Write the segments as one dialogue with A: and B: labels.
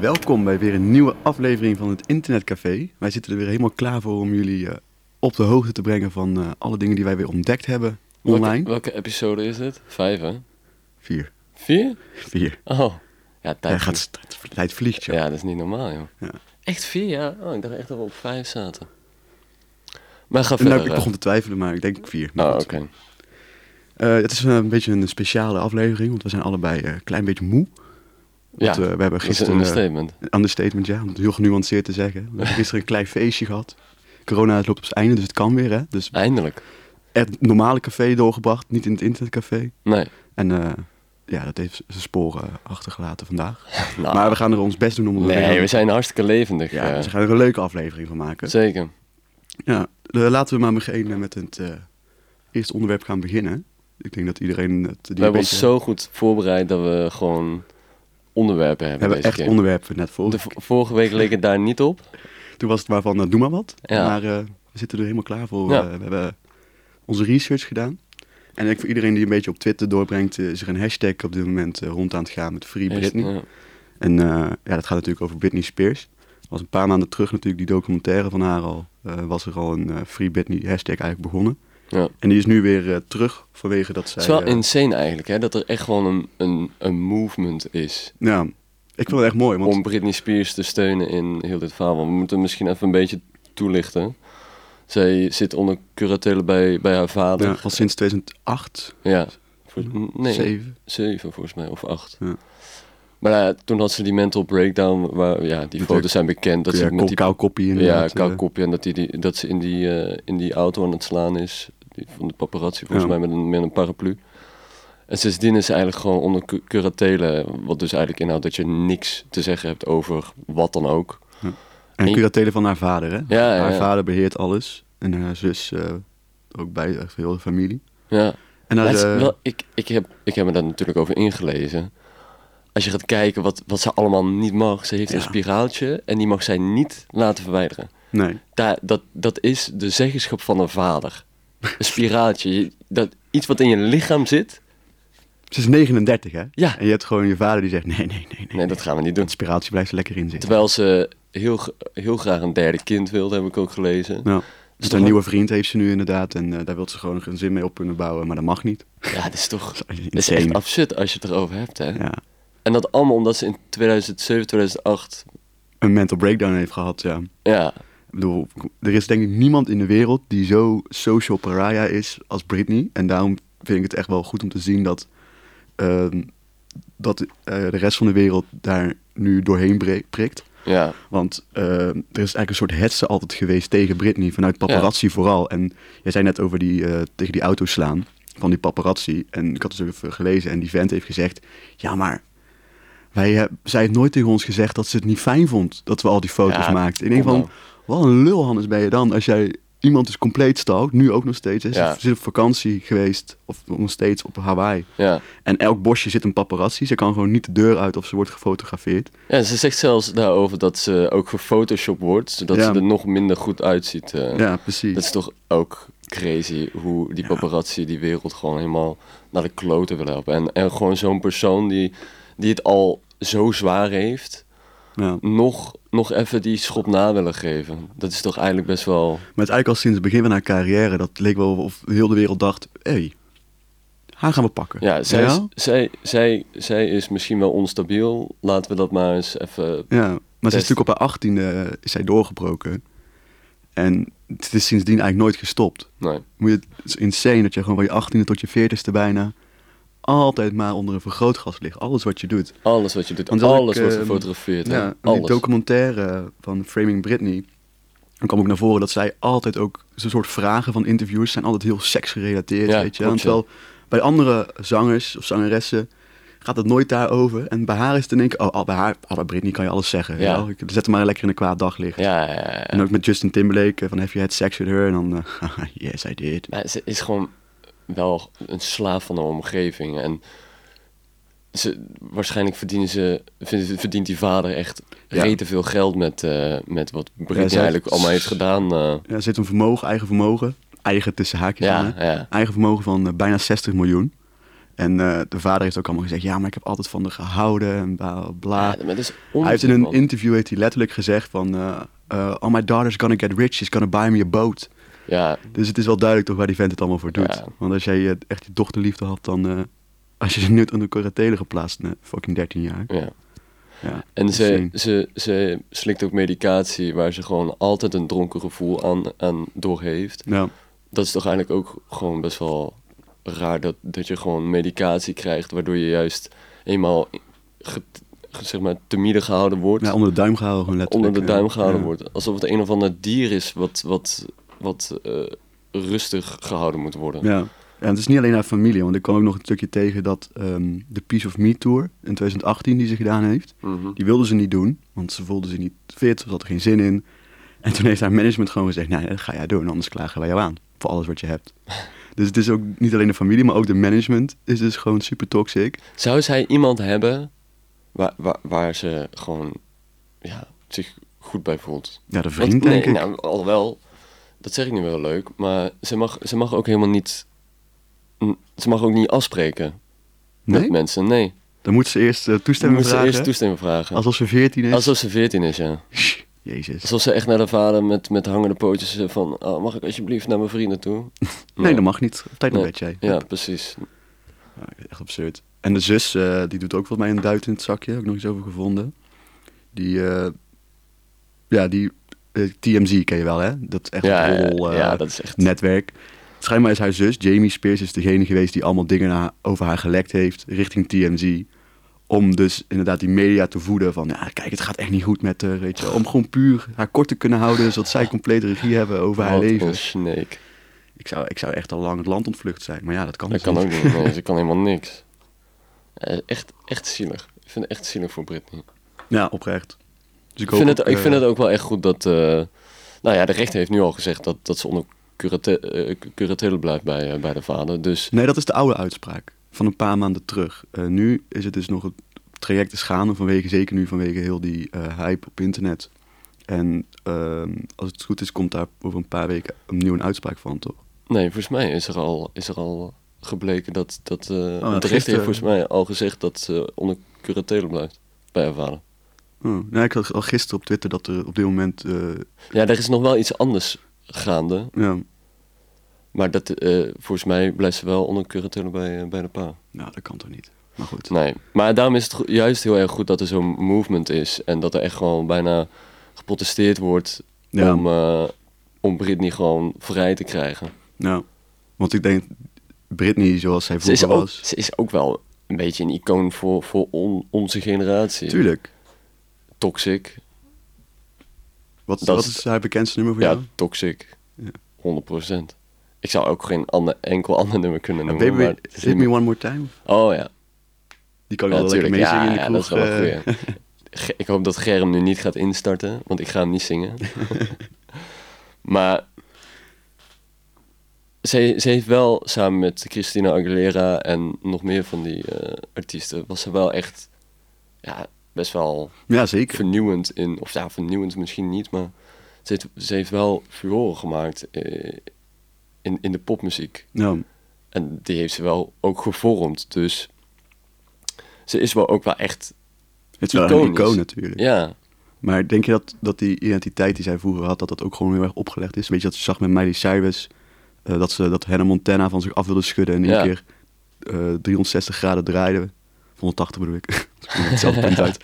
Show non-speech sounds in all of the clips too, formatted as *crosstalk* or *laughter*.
A: Welkom bij weer een nieuwe aflevering van het Internetcafé. Wij zitten er weer helemaal klaar voor om jullie eh, op de hoogte te brengen van eh, alle dingen die wij weer ontdekt hebben online.
B: Welke, welke episode is dit? Vijf, hè?
A: Vier.
B: Vier?
A: Vier.
B: Oh. Ja, tijd
A: Hij
B: ging-
A: gaat, tijd vliegt, joh.
B: Ja, dat is niet normaal, joh.
A: Ja.
B: Echt vier, ja? Oh, ik dacht echt dat we op vijf zaten. Maar ga
A: En
B: verder.
A: nou, ik
B: hè.
A: begon te twijfelen, maar ik denk vier. Maar
B: eh, Oh, oké.
A: goed. Eh, het is een beetje een speciale aflevering, want we zijn allebei eh, een klein beetje moe.
B: Ja,
A: Want, eh, we hebben
B: dat is
A: gisteren...
B: een
A: eh,
B: understatement.
A: Een understatement, ja, om het heel genuanceerd te zeggen. We hebben gisteren een klein feestje gehad. Corona loopt op zijn einde, dus het kan weer, hè. Dus
B: Eindelijk.
A: het normale café doorgebracht, niet in het internetcafé.
B: Nee.
A: En eh, ja, dat heeft zijn sporen achtergelaten vandaag.
B: Nou,
A: Maar we gaan er ons best doen om er weer
B: nee,
A: aan-
B: we zijn hartstikke levendig.
A: ja,
B: eh.
A: dus we gaan er een leuke aflevering van maken.
B: Zeker.
A: Ja, eh, laten we maar beginnen met het eh, eerste onderwerp gaan beginnen. Ik denk dat iedereen het... Die
B: We hebben ons zo goed voorbereid dat we gewoon onderwerpen
A: we
B: hebben
A: hebben
B: deze
A: echt
B: keer.
A: onderwerpen net voor.
B: De v- vorige week leek het daar niet op.
A: Toen was het maar van, eh, doe maar wat.
B: Ja.
A: Maar eh, we zitten er helemaal klaar voor.
B: Ja.
A: Eh, we hebben onze research gedaan. En ik, voor iedereen die een beetje op Twitter doorbrengt, eh, is er een hashtag op dit moment eh, rond aan het gaan met Free Britney.
B: Ja.
A: En eh, ja, dat gaat natuurlijk over Britney Spears. Er was een paar maanden terug natuurlijk die documentaire van haar al. eh, was er al een eh, Free Britney hashtag eigenlijk begonnen.
B: Ja.
A: En die is nu weer eh, terug vanwege dat zij...
B: Het is wel
A: eh,
B: insane eigenlijk, hè? Dat er echt gewoon een, een, een movement is.
A: ja, ik vond het echt mooi. Want
B: om Britney Spears te steunen in heel dit verhaal. Want we moeten misschien even een beetje toelichten. Zij zit onder curatele bij, bij haar
A: ja,
B: vader.
A: al sinds 2008,
B: Ja. Voor- nee, zeven.
A: 7.
B: volgens mij, of acht.
A: Ja.
B: Maar ja, toen had ze die mental breakdown, waar, ja, die
A: Met haar-
B: foto's zijn bekend. Dat
A: Ja,
B: ze met die
A: kou koppie
B: ja,
A: inderdaad.
B: koud
A: eh,
B: kopje en dat, die, die, dat ze in die, eh, in die auto aan het slaan is. Die, van de paparazzi volgens
A: Ja.
B: mij met een, met een paraplu. En sindsdien is ze eigenlijk gewoon onder cu- curatele. Wat dus eigenlijk inhoudt dat je niks te zeggen hebt over wat dan ook.
A: En
B: En-
A: curatele van haar vader, hè?
B: Ja, ja,
A: haar
B: ja.
A: vader beheert alles. En haar zus eh, ook bij echt heel de familie.
B: Ja.
A: En
B: Maar
A: haar,
B: het is
A: eh,
B: wel, ik, ik, heb, ik heb me daar natuurlijk over ingelezen. Als je gaat kijken wat, wat ze allemaal niet mag. Ze heeft
A: Ja.
B: een spiraaltje en die mag zij niet laten verwijderen.
A: Nee,
B: Daar, dat, dat is de zeggenschap van een vader. Een spiraaltje. Je- dat, iets wat in je lichaam zit.
A: ze is 39, hè?
B: Ja.
A: En je hebt gewoon je vader die zegt, nee, nee, nee, nee.
B: Nee, dat gaan we niet doen.
A: Het spiraaltje blijft er lekker in zitten.
B: Terwijl ze heel, g- heel graag een derde kind wilde, heb ik ook gelezen.
A: Nou, dus
B: toch
A: een
B: ook-
A: nieuwe vriend heeft ze nu inderdaad. En eh, daar wil ze gewoon een zin mee op kunnen bouwen. Maar dat mag niet.
B: Ja, dat is toch
A: Dat is
B: dat is echt
A: insane.
B: absurd als je het erover hebt, hè?
A: Ja.
B: En dat allemaal omdat ze in 2007, 2008...
A: Een mental breakdown heeft gehad, ja.
B: Ja,
A: Ik bedoel, er is denk ik niemand in de wereld die zo social pariah is als Britney. En daarom vind ik het echt wel goed om te zien dat, ehm, dat eh, de rest van de wereld daar nu doorheen bre- prikt.
B: ja,
A: Want ehm, er is eigenlijk een soort hetze altijd geweest tegen Britney, vanuit paparazzi vooral. En jij zei net over die, eh, tegen die auto slaan van die paparazzi. En ik had het dus even gelezen en die vent heeft gezegd, ja maar... Wij, eh, zij heeft nooit tegen ons gezegd dat ze het niet fijn vond dat we al die foto's
B: Ja,
A: maakten. In ieder
B: kom
A: geval, wat een lul Hannes ben je dan als jij iemand is compleet stalkt, nu ook nog steeds. hè. Ze
B: Ja.
A: zit op vakantie geweest, of nog steeds op Hawaii.
B: ja.
A: En elk bosje zit een paparazzi. Ze kan gewoon niet de deur uit of ze wordt gefotografeerd.
B: Ja, ze zegt zelfs daarover dat ze ook gefotoshopt wordt, zodat
A: Ja.
B: ze er nog minder goed uitziet. eh.
A: Ja, precies.
B: Dat is toch ook crazy hoe die paparazzi die wereld gewoon helemaal naar de kloten willen helpen. En, en gewoon zo'n persoon die, die het al zo zwaar heeft,
A: Ja.
B: nog, nog even die schop na willen geven. Dat is toch eigenlijk best wel...
A: Maar het is eigenlijk al sinds het begin van haar carrière, dat leek wel of heel de wereld dacht, hé, hey, haar gaan we pakken.
B: Ja, zij,
A: ja?
B: Is, zij, zij, zij is misschien wel onstabiel. Laten we dat maar eens even...
A: Ja, maar ze is
B: Best.
A: natuurlijk op haar achttiende eh, is zij doorgebroken. En het is sindsdien eigenlijk nooit gestopt.
B: Nee.
A: Moet je, het is insane dat je gewoon van je achttiende tot je veertigste bijna altijd maar onder een vergrootglas ligt. Alles wat je doet.
B: Alles wat je doet,
A: Want dat
B: alles
A: ik,
B: wordt
A: ehm,
B: gefotografeerd. hè.
A: Ja, in die
B: alles.
A: documentaire van Framing Britney. Dan kwam ook naar voren dat zij altijd ook zo'n soort vragen van interviews zijn altijd heel seksgerelateerd,
B: Ja,
A: weet je.
B: klopt,
A: En terwijl bij andere zangers of zangeressen gaat het nooit daarover. En bij haar is het in één keer, oh, ah, bij haar, ah, bij Britney kan je alles zeggen. weet
B: Ja.
A: je wel. Ik zet hem maar lekker in een kwaad daglicht.
B: Ja, ja, ja, ja.
A: En ook met Justin Timberlake, eh, van have you had sex with her? En dan, eh, *laughs* haha, yes I did.
B: Maar ze is gewoon wel een slaaf van haar omgeving. En ze, waarschijnlijk verdienen ze, vind- verdient die vader echt
A: Ja.
B: rete veel geld met, eh, met wat Britney
A: heeft-
B: eigenlijk allemaal heeft gedaan. eh.
A: Ja, er zit een vermogen, eigen vermogen, eigen tussen haakjes aan,
B: ja,
A: hè.
B: ja.
A: Eigen vermogen van eh, bijna 60 miljoen. En eh, de vader heeft ook allemaal gezegd, ja, maar ik heb altijd van haar gehouden en bla bla.
B: Ja, maar dat is
A: hij heeft in
B: onzin,
A: een
B: man.
A: interview heeft hij letterlijk gezegd van, eh eh, oh my daughter's gonna get rich, she's gonna buy me a boat.
B: Ja,
A: Dus het is wel duidelijk toch waar die vent het allemaal voor doet.
B: Ja.
A: Want als jij eh, echt je dochterliefde had, dan eh als je ze nu onder curatele geplaatst, eh, fucking 13 jaar.
B: ja.
A: Ja,
B: En ze,
A: insane.
B: ze, ze slikt ook medicatie waar ze gewoon altijd een dronken gevoel aan, aan door heeft.
A: Nou,
B: Dat is toch eigenlijk ook gewoon best wel raar dat, dat je gewoon medicatie krijgt waardoor je juist eenmaal ge, ge- zeg maar timide gehouden wordt,
A: ja, onder de duim gehouden gewoon letterlijk.
B: onder de duim
A: ja.
B: gehouden
A: Ja.
B: wordt. Alsof het een of ander dier is wat, wat, wat eh, rustig gehouden moet worden.
A: Ja. ja, en het is niet alleen haar familie, want ik kwam ook nog een stukje tegen dat ehm, de Peace of Me Tour in 2018 die ze gedaan heeft,
B: Mhm.
A: die wilde ze niet doen, want ze voelde zich niet fit, ze had er geen zin in. En toen heeft haar management gewoon gezegd, nee, dat ga jij doen, anders klagen wij jou aan voor alles wat je
B: *laughs*
A: hebt. Dus het is ook niet alleen de familie, maar ook de management is dus gewoon super toxic.
B: Zou zij iemand hebben waar, waar, waar ze gewoon ja, zich goed bij voelt?
A: Ja, de
B: Want-
A: vriend denk
B: nee,
A: ik.
B: Nou, alhoewel, dat zeg ik nu wel leuk, maar ze mag, ze mag ook helemaal niet. n- Ze mag ook niet afspreken met
A: nee?
B: mensen. Nee.
A: Dan moet ze eerst eh,
B: Ze
A: toestemming
B: moet ze
A: vragen.
B: eerst toestemming vragen.
A: Alsof ze 14 is.
B: Alsof ze 14 is, ja.
A: Jezus.
B: Alsof ze echt naar de vader met, met hangende pootjes eh, van. "Oh, mag ik alsjeblieft naar mijn vrienden toe?
A: *laughs* Nee, dat mag niet. Op tijd naar
B: Nee.
A: bed jij.
B: Ja, precies.
A: Echt absurd. En de zus, eh, die doet ook volgens mij een duit in het zakje. Heb ik nog iets over gevonden. Die, eh, ja, die eh, TMZ ken je wel, hè? Dat echt
B: Ja, ja,
A: roddel, eh,
B: ja, dat is echt.
A: netwerk. Schijnbaar is haar zus, Jamie Spears, is degene geweest die allemaal dingen na- over haar gelekt heeft richting TMZ. Om dus inderdaad die media te voeden van, ja, kijk, het gaat echt niet goed met haar, weet je. Om gewoon puur haar kort te kunnen houden, zodat zij complete regie hebben over haar
B: Wat een
A: leven.
B: snake.
A: Ik zou, ik zou echt al lang het land ontvlucht zijn, maar ja, dat kan
B: Dat
A: dus
B: kan
A: niet.
B: ook niet.
A: *laughs*
B: Nee, ze kan helemaal niks. Eh, Echt, echt zielig. Ik vind het echt zielig voor Britney.
A: Ja, oprecht. Dus
B: Ik vind,
A: hoop
B: het,
A: ook,
B: ik vind
A: eh,
B: het ook wel echt goed dat... eh, nou ja, de rechter heeft nu al gezegd dat, dat ze onder curate, eh, curatele blijft bij, eh, bij de vader. Dus
A: Nee, dat is de oude uitspraak van een paar maanden terug. Eh, nu is het dus nog het traject is gaande vanwege, zeker nu vanwege heel die eh, hype op internet. En ehm, als het goed is, komt daar over een paar weken opnieuw een uitspraak van, toch?
B: nee, volgens mij is er al, is er al gebleken dat... dat eh, de rechter
A: Oh, gisteren.
B: heeft volgens mij al gezegd dat ze onder curatele blijft bij haar vader.
A: Oh, nou, ik zag al gisteren op Twitter dat er op dit moment... eh,
B: Ja, er is nog wel iets anders gaande.
A: ja,
B: Maar dat, eh, volgens mij blijft ze wel onder curatele bij, eh, bij de pa.
A: nou, dat kan toch niet? Maar goed.
B: Nee, maar daarom is het go- juist heel erg goed dat er zo'n movement is. En dat er echt gewoon bijna geprotesteerd wordt
A: Ja.
B: om, eh, om Britney gewoon vrij te krijgen.
A: Nou, want ik denk, Britney zoals zij
B: Ze is,
A: vroeger
B: ook,
A: was...
B: ze is ook wel een beetje een icoon voor, voor on- onze generatie.
A: Tuurlijk.
B: Toxic.
A: Wat,
B: Dat
A: wat
B: is-
A: is haar bekendste nummer voor
B: Ja,
A: jou?
B: toxic.
A: Ja.
B: 100%. Ik zou ook geen ander, enkel ander nummer kunnen
A: Ja,
B: noemen. maar
A: Baby,
B: het is
A: Hit
B: niet-
A: Me One More Time?
B: Oh ja,
A: Die kan ik
B: ja
A: wel lekker
B: natuurlijk.
A: meezingen
B: Ja,
A: in de
B: ja, dat
A: kroeg.
B: is wel
A: eh,
B: een goeie. Ge- Ik hoop dat Germ nu niet gaat instarten, want ik ga hem niet
A: *laughs*
B: zingen. maar ze, ze heeft wel samen met Christina Aguilera en nog meer van die eh, artiesten, was ze wel echt ja, best wel
A: ja, zeker.
B: vernieuwend in, of ja, vernieuwend misschien niet, maar ze heeft, ze heeft wel furoren gemaakt eh, in, in de popmuziek.
A: Nou,
B: En die heeft ze wel ook gevormd, dus ze is wel ook wel echt,
A: het is wel een
B: Iconisch.
A: icoon natuurlijk.
B: ja,
A: Maar denk je dat, dat die identiteit die zij vroeger had, dat dat ook gewoon heel erg opgelegd is? Weet je, dat ze zag met Miley Cyrus, eh, dat ze dat Hannah Montana van zich af wilde schudden en in
B: Ja.
A: één keer eh, 360 graden draaide. 180 bedoel ik. *laughs* Ik kom op Hetzelfde punt uit.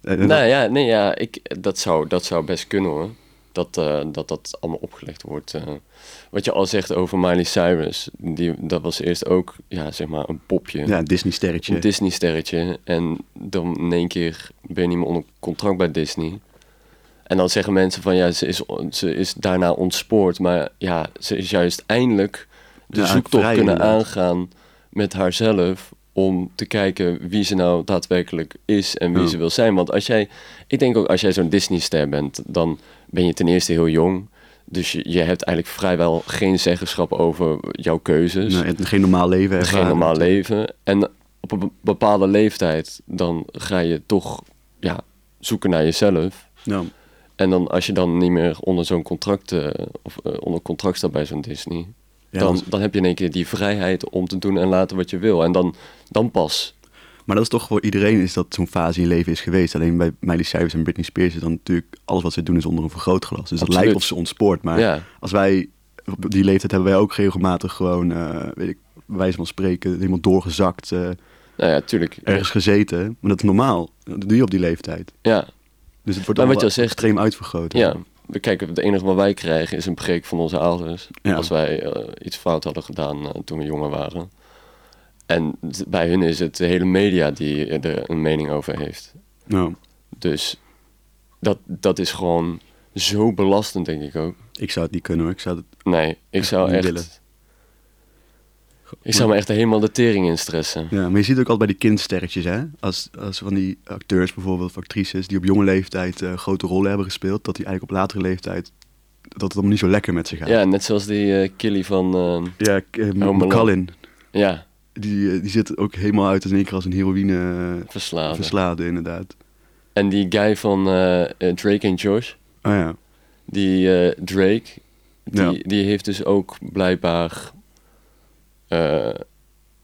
A: En- en
B: Nou ja, *laughs* nee, ja ik, dat, zou, dat zou best kunnen hoor. Dat, eh, dat dat allemaal opgelegd wordt. eh. Wat je al zegt over Miley Cyrus, die, dat was eerst ook ja, zeg maar een popje.
A: dat- ja, een Disney-sterretje.
B: Een Disney-sterretje. En dan in één keer ben je niet meer onder contract bij Disney. En dan zeggen mensen van ja, ze is, on- ze is daarna ontspoord. Maar ja, ze is juist eindelijk de
A: Ja,
B: zoektocht
A: vrij
B: kunnen
A: inderdaad.
B: aangaan met haarzelf. Om te kijken wie ze nou daadwerkelijk is en wie
A: Ja.
B: ze wil zijn. Want als jij, ik denk ook als jij zo'n Disney-ster bent, dan ben je ten eerste heel jong. Dus je, je hebt eigenlijk vrijwel geen zeggenschap over jouw keuzes
A: Nou, en geen normaal leven.
B: geen
A: ervaren.
B: normaal leven. En op een be- bepaalde leeftijd, dan ga je toch ja, zoeken naar jezelf.
A: Nou,
B: En dan als je dan niet meer onder zo'n contract, eh, of eh, onder contract staat bij zo'n Disney.
A: Ja,
B: dan,
A: want-
B: dan heb je in één keer die vrijheid om te doen en laten wat je wil. En dan, dan pas.
A: Maar dat is toch voor iedereen is dat zo'n fase in je leven is geweest. Alleen bij Miley Cyrus en Britney Spears is dan natuurlijk alles wat ze doen is onder een vergrootglas. Dus dat
B: Absoluut.
A: lijkt of ze ontspoort. Maar
B: Ja.
A: als wij op die leeftijd hebben wij ook regelmatig gewoon, eh, weet ik, bij wijze van spreken, helemaal doorgezakt, eh,
B: Nou ja, tuurlijk.
A: ergens gezeten. Maar dat is normaal. Dat doe je op die leeftijd.
B: Ja,
A: Dus het wordt
B: Maar
A: allemaal
B: wat je al zegt-
A: extreem uitvergroot.
B: ja. We kijken, het enige wat wij krijgen is een preek van onze ouders.
A: Ja.
B: Als wij eh, iets fout hadden gedaan eh, toen we jonger waren. En t- bij hun is het de hele media die eh, er een mening over heeft.
A: Nou,
B: Dus dat, dat is gewoon zo belastend, denk ik ook.
A: ik zou het niet kunnen hoor. Ik zou het...
B: Nee, ik zou
A: niet
B: echt...
A: willen.
B: Ik zou me echt helemaal de tering in stressen.
A: ja, maar je ziet ook altijd bij die kindsterretjes hè. Als, als van die acteurs bijvoorbeeld, of actrices, die op jonge leeftijd eh, grote rollen hebben gespeeld. Dat die eigenlijk op latere leeftijd, dat het allemaal niet zo lekker met ze gaat.
B: Ja, net zoals die eh Killy van... ehm,
A: Ja, ik, eh,
B: Alone.
A: McCallin,
B: ja,
A: die, eh, die zit ook helemaal uit als in één keer als een
B: Oh,
A: heroïne eh,
B: verslaafd.
A: verslaafde inderdaad.
B: en die guy van eh, eh, Drake en Josh,
A: Oh ja,
B: die eh, Drake, die,
A: Ja.
B: die heeft dus ook blijkbaar eh,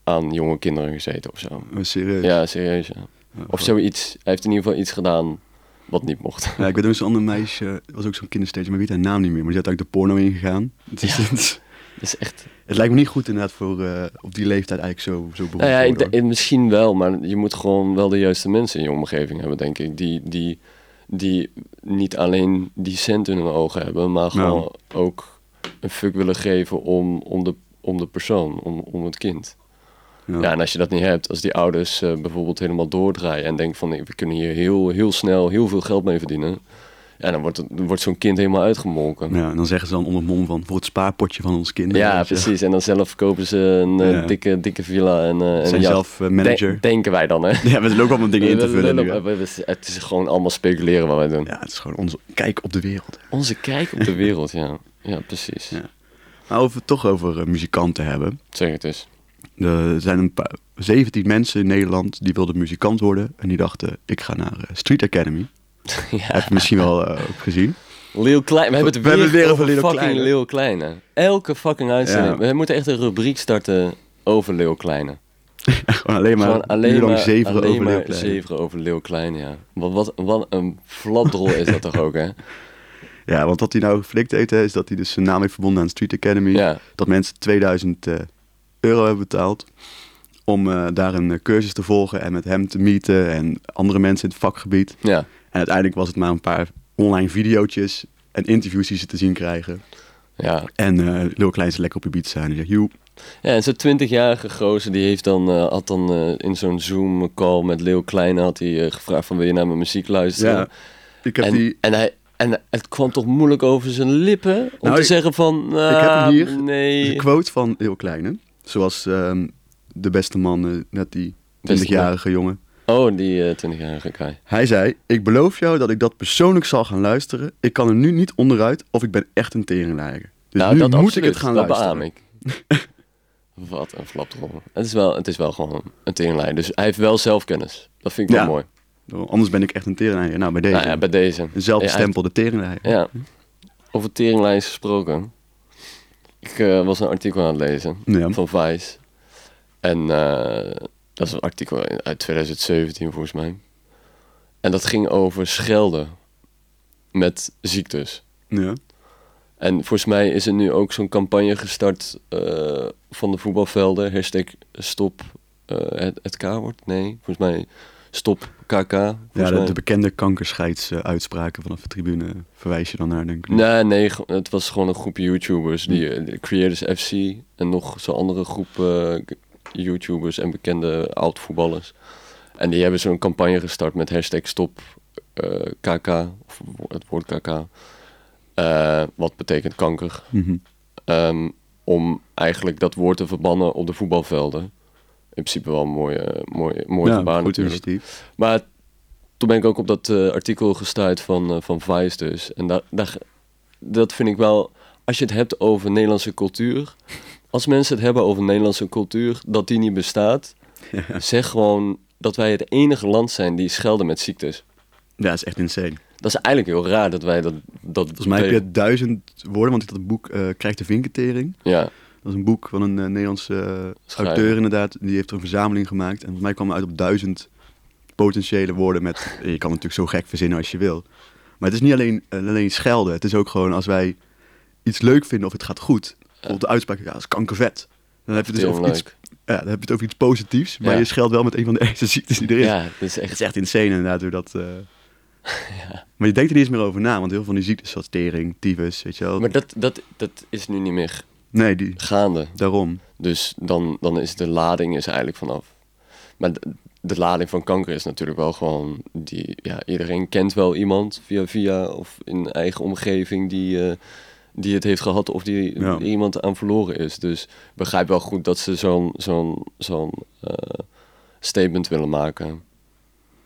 B: aan jonge kinderen gezeten of zo.
A: oh, serieus.
B: Ja, serieus. ja.
A: Oh,
B: Of
A: goh.
B: zoiets. Hij heeft in ieder geval iets gedaan wat
A: *laughs*
B: niet mocht.
A: Ja, ik weet ook zo'n ander meisje, het was ook zo'n kindersteentje, maar ik weet haar naam niet meer. Maar die had eigenlijk de porno ingegaan. Het, is,
B: Ja.
A: het, is-
B: Dat is echt...
A: *laughs* het lijkt me niet goed inderdaad voor eh, op die leeftijd eigenlijk zo, zo beroemd
B: Nou ja, ik,
A: worden,
B: d- eh, misschien wel, maar je moet gewoon wel de juiste mensen in je omgeving hebben, denk ik. Die, die, die niet alleen die cent in hun ogen hebben, maar
A: Nou.
B: gewoon ook een fuck willen geven om, om, de, om de persoon, om, om het kind.
A: hoor.
B: Ja. en als je dat niet hebt, als die ouders eh, bijvoorbeeld helemaal doordraaien en denken van eh, we kunnen hier heel, heel snel heel veel geld mee verdienen. Ja, dan wordt, het- dan wordt zo'n kind helemaal uitgemolken. Ja.
A: Ja, en dan zeggen ze dan onder het mom van voor het spaarpotje van ons kind. Weet je.
B: precies. En dan zelf kopen ze een eh,
A: Ja.
B: dikke, dikke villa en, eh en
A: Zijn
B: een jacht.
A: zelf eh, manager.
B: Den- denken wij dan, hè?
A: ja, we zijn ook allemaal dingen in te
B: *laughs* We- we- we-
A: vullen. nu,
B: we-
A: hè.
B: we- we- Het is gewoon allemaal speculeren wat wij doen.
A: Ja, het is gewoon onze kijk op de wereld.
B: Onze kijk
A: *laughs*
B: op de wereld, ja. Ja, precies.
A: Ja. Maar over het toch over eh, muzikanten hebben.
B: Zeg het eens. *laughs*
A: Er zijn een paar, 17 mensen in Nederland die wilden muzikant worden. En die dachten, ik ga naar eh, Street
B: *laughs*
A: Academy. Heb
B: ja.
A: je misschien wel eh, ook gezien. *laughs*
B: Lil Klein, we hebben het
A: We
B: weer,
A: hebben het weer
B: over
A: over Lil
B: fucking
A: Kleine.
B: Lil Kleine. Elke fucking uitzending.
A: Ja.
B: We moeten echt een rubriek starten over Lil Kleine.
A: Gewoon alleen maar
B: Gewoon
A: een
B: alleen
A: uur lang
B: maar,
A: zeveren
B: alleen
A: over
B: maar
A: Leeuw Kleine.
B: zeveren over Lil Kleine, ja. Wat, wat, wat een flapdrol is dat toch
A: *laughs*
B: ook, hè?
A: Ja, want wat hij nou geflikt heeft, hè, is dat hij dus zijn naam heeft verbonden aan Street Academy.
B: Ja.
A: Dat mensen 2000 eh, euro hebben betaald om eh, daar een eh, cursus te volgen en met hem te meeten en andere mensen in het vakgebied.
B: Ja.
A: En uiteindelijk was het maar een paar online videootjes en interviews die ze te zien krijgen.
B: Ja.
A: En eh Lil Klein is lekker op je beat zijn en zegt, joe,
B: Ja, en zo'n 20-jarige gozer die heeft dan, eh, had dan eh, in zo'n Zoom-call met Leo Kleine had hij eh, gevraagd van wil je naar mijn muziek luisteren?
A: ja, ik heb
B: en,
A: die...
B: en, hij, en het kwam toch moeilijk over zijn lippen om
A: Nou,
B: te
A: ik-
B: zeggen van
A: Ik heb
B: "Ah,
A: hem hier.
B: nee.
A: Dus een quote van heel Kleine. Zoals ehm, de beste man, eh, net die
B: Beste
A: 20-jarige jongen.
B: Oh, die eh, 20-jarige guy.
A: Hij zei, ik beloof jou dat ik dat persoonlijk zal gaan luisteren. Ik kan er nu niet onderuit of ik ben echt een teringleier. Dus
B: nou,
A: nu
B: dat
A: moet
B: absoluut,
A: ik het gaan
B: dat
A: luisteren.
B: beaam ik. *laughs* Wat een flapdrol. Het is wel, het is wel gewoon een teringlijn. Dus hij heeft wel zelfkennis. Dat vind ik wel
A: Ja.
B: mooi.
A: Oh, Anders ben ik echt een teringleier. Nou, bij deze.
B: Nou ja, bij deze.
A: Een zelfbestempelde
B: Ja,
A: teringleier.
B: hij- ja. Over teringlijns gesproken. Ik eh, was een artikel aan het lezen.
A: Ja.
B: van Vice. En eh, dat is een artikel uit 2017 volgens mij. En dat ging over schelden met ziektes.
A: Ja.
B: En volgens mij is er nu ook zo'n campagne gestart eh, van de voetbalvelden. Hashtag stop eh, het, het K-woord? Nee, volgens mij stop KK.
A: Ja,
B: volgens
A: de,
B: mij.
A: de bekende kankerscheidsuitspraken vanaf de tribune verwijs je dan naar, denk ik.
B: Nee, nee, go- het was gewoon een groep YouTubers. Die
A: Hm.
B: eh, de Creators FC en nog zo'n andere groep eh, k- YouTubers en bekende oud-voetballers. En die hebben zo'n campagne gestart met hashtag stop eh, KK, of wo- het woord KK. eh, wat betekent kanker.
A: Mhm.
B: Ehm, om eigenlijk dat woord te verbannen op de voetbalvelden. In principe wel een mooie, mooie, mooie
A: Ja,
B: gebaar
A: goed
B: natuurlijk.
A: initiatief. *laughs*
B: Maar toen ben ik ook op dat eh, artikel gestuurd van, eh, van Vice dus. En da daar- dat vind ik wel... Als je het hebt over Nederlandse cultuur... Als mensen het hebben over Nederlandse cultuur, dat die niet bestaat... Zeg gewoon dat wij het enige land zijn die schelden met ziektes.
A: Ja, dat is echt insane.
B: Dat is eigenlijk heel raar dat wij dat... dat
A: Volgens mij heb je duizend woorden, want ik had een boek eh Krijg de vinkentering.
B: Ja,
A: Dat is een boek van een eh, Nederlandse eh,
B: Schrijver.
A: auteur inderdaad. Die heeft er een verzameling gemaakt. En volgens mij kwam het uit op duizend potentiële woorden
B: *laughs*
A: met... Je kan het natuurlijk zo gek verzinnen als je wil. Maar het is niet alleen, eh, alleen schelden. Het is ook gewoon als wij iets leuk vinden of het gaat goed. Bijvoorbeeld de uitspraak, ja, dat is kankervet. Dan heb, je het dus
B: Heel
A: over iets,
B: leuk.
A: ja, dan heb je het over iets positiefs. Maar
B: Ja.
A: je scheldt wel met een van de *laughs* ergste ziektes die er is.
B: Ja, dat is
A: Het
B: echt...
A: is echt insane inderdaad hoe dat... eh,
B: *laughs*
A: Maar je denkt er niet eens meer over na. Want heel veel van die ziektes zoals tering, tyfus, weet je wel.
B: Maar dat, dat, dat is nu niet meer
A: Nee, die,
B: gaande.
A: daarom.
B: Dus dan, dan is de lading is eigenlijk vanaf. Maar de, de lading van kanker is natuurlijk wel gewoon die. Ja, iedereen kent wel iemand via via of in eigen omgeving die, eh, die het heeft gehad of die
A: Ja.
B: iemand aan verloren is. Dus begrijp wel goed dat ze zo'n zo'n zo'n eh, statement willen maken.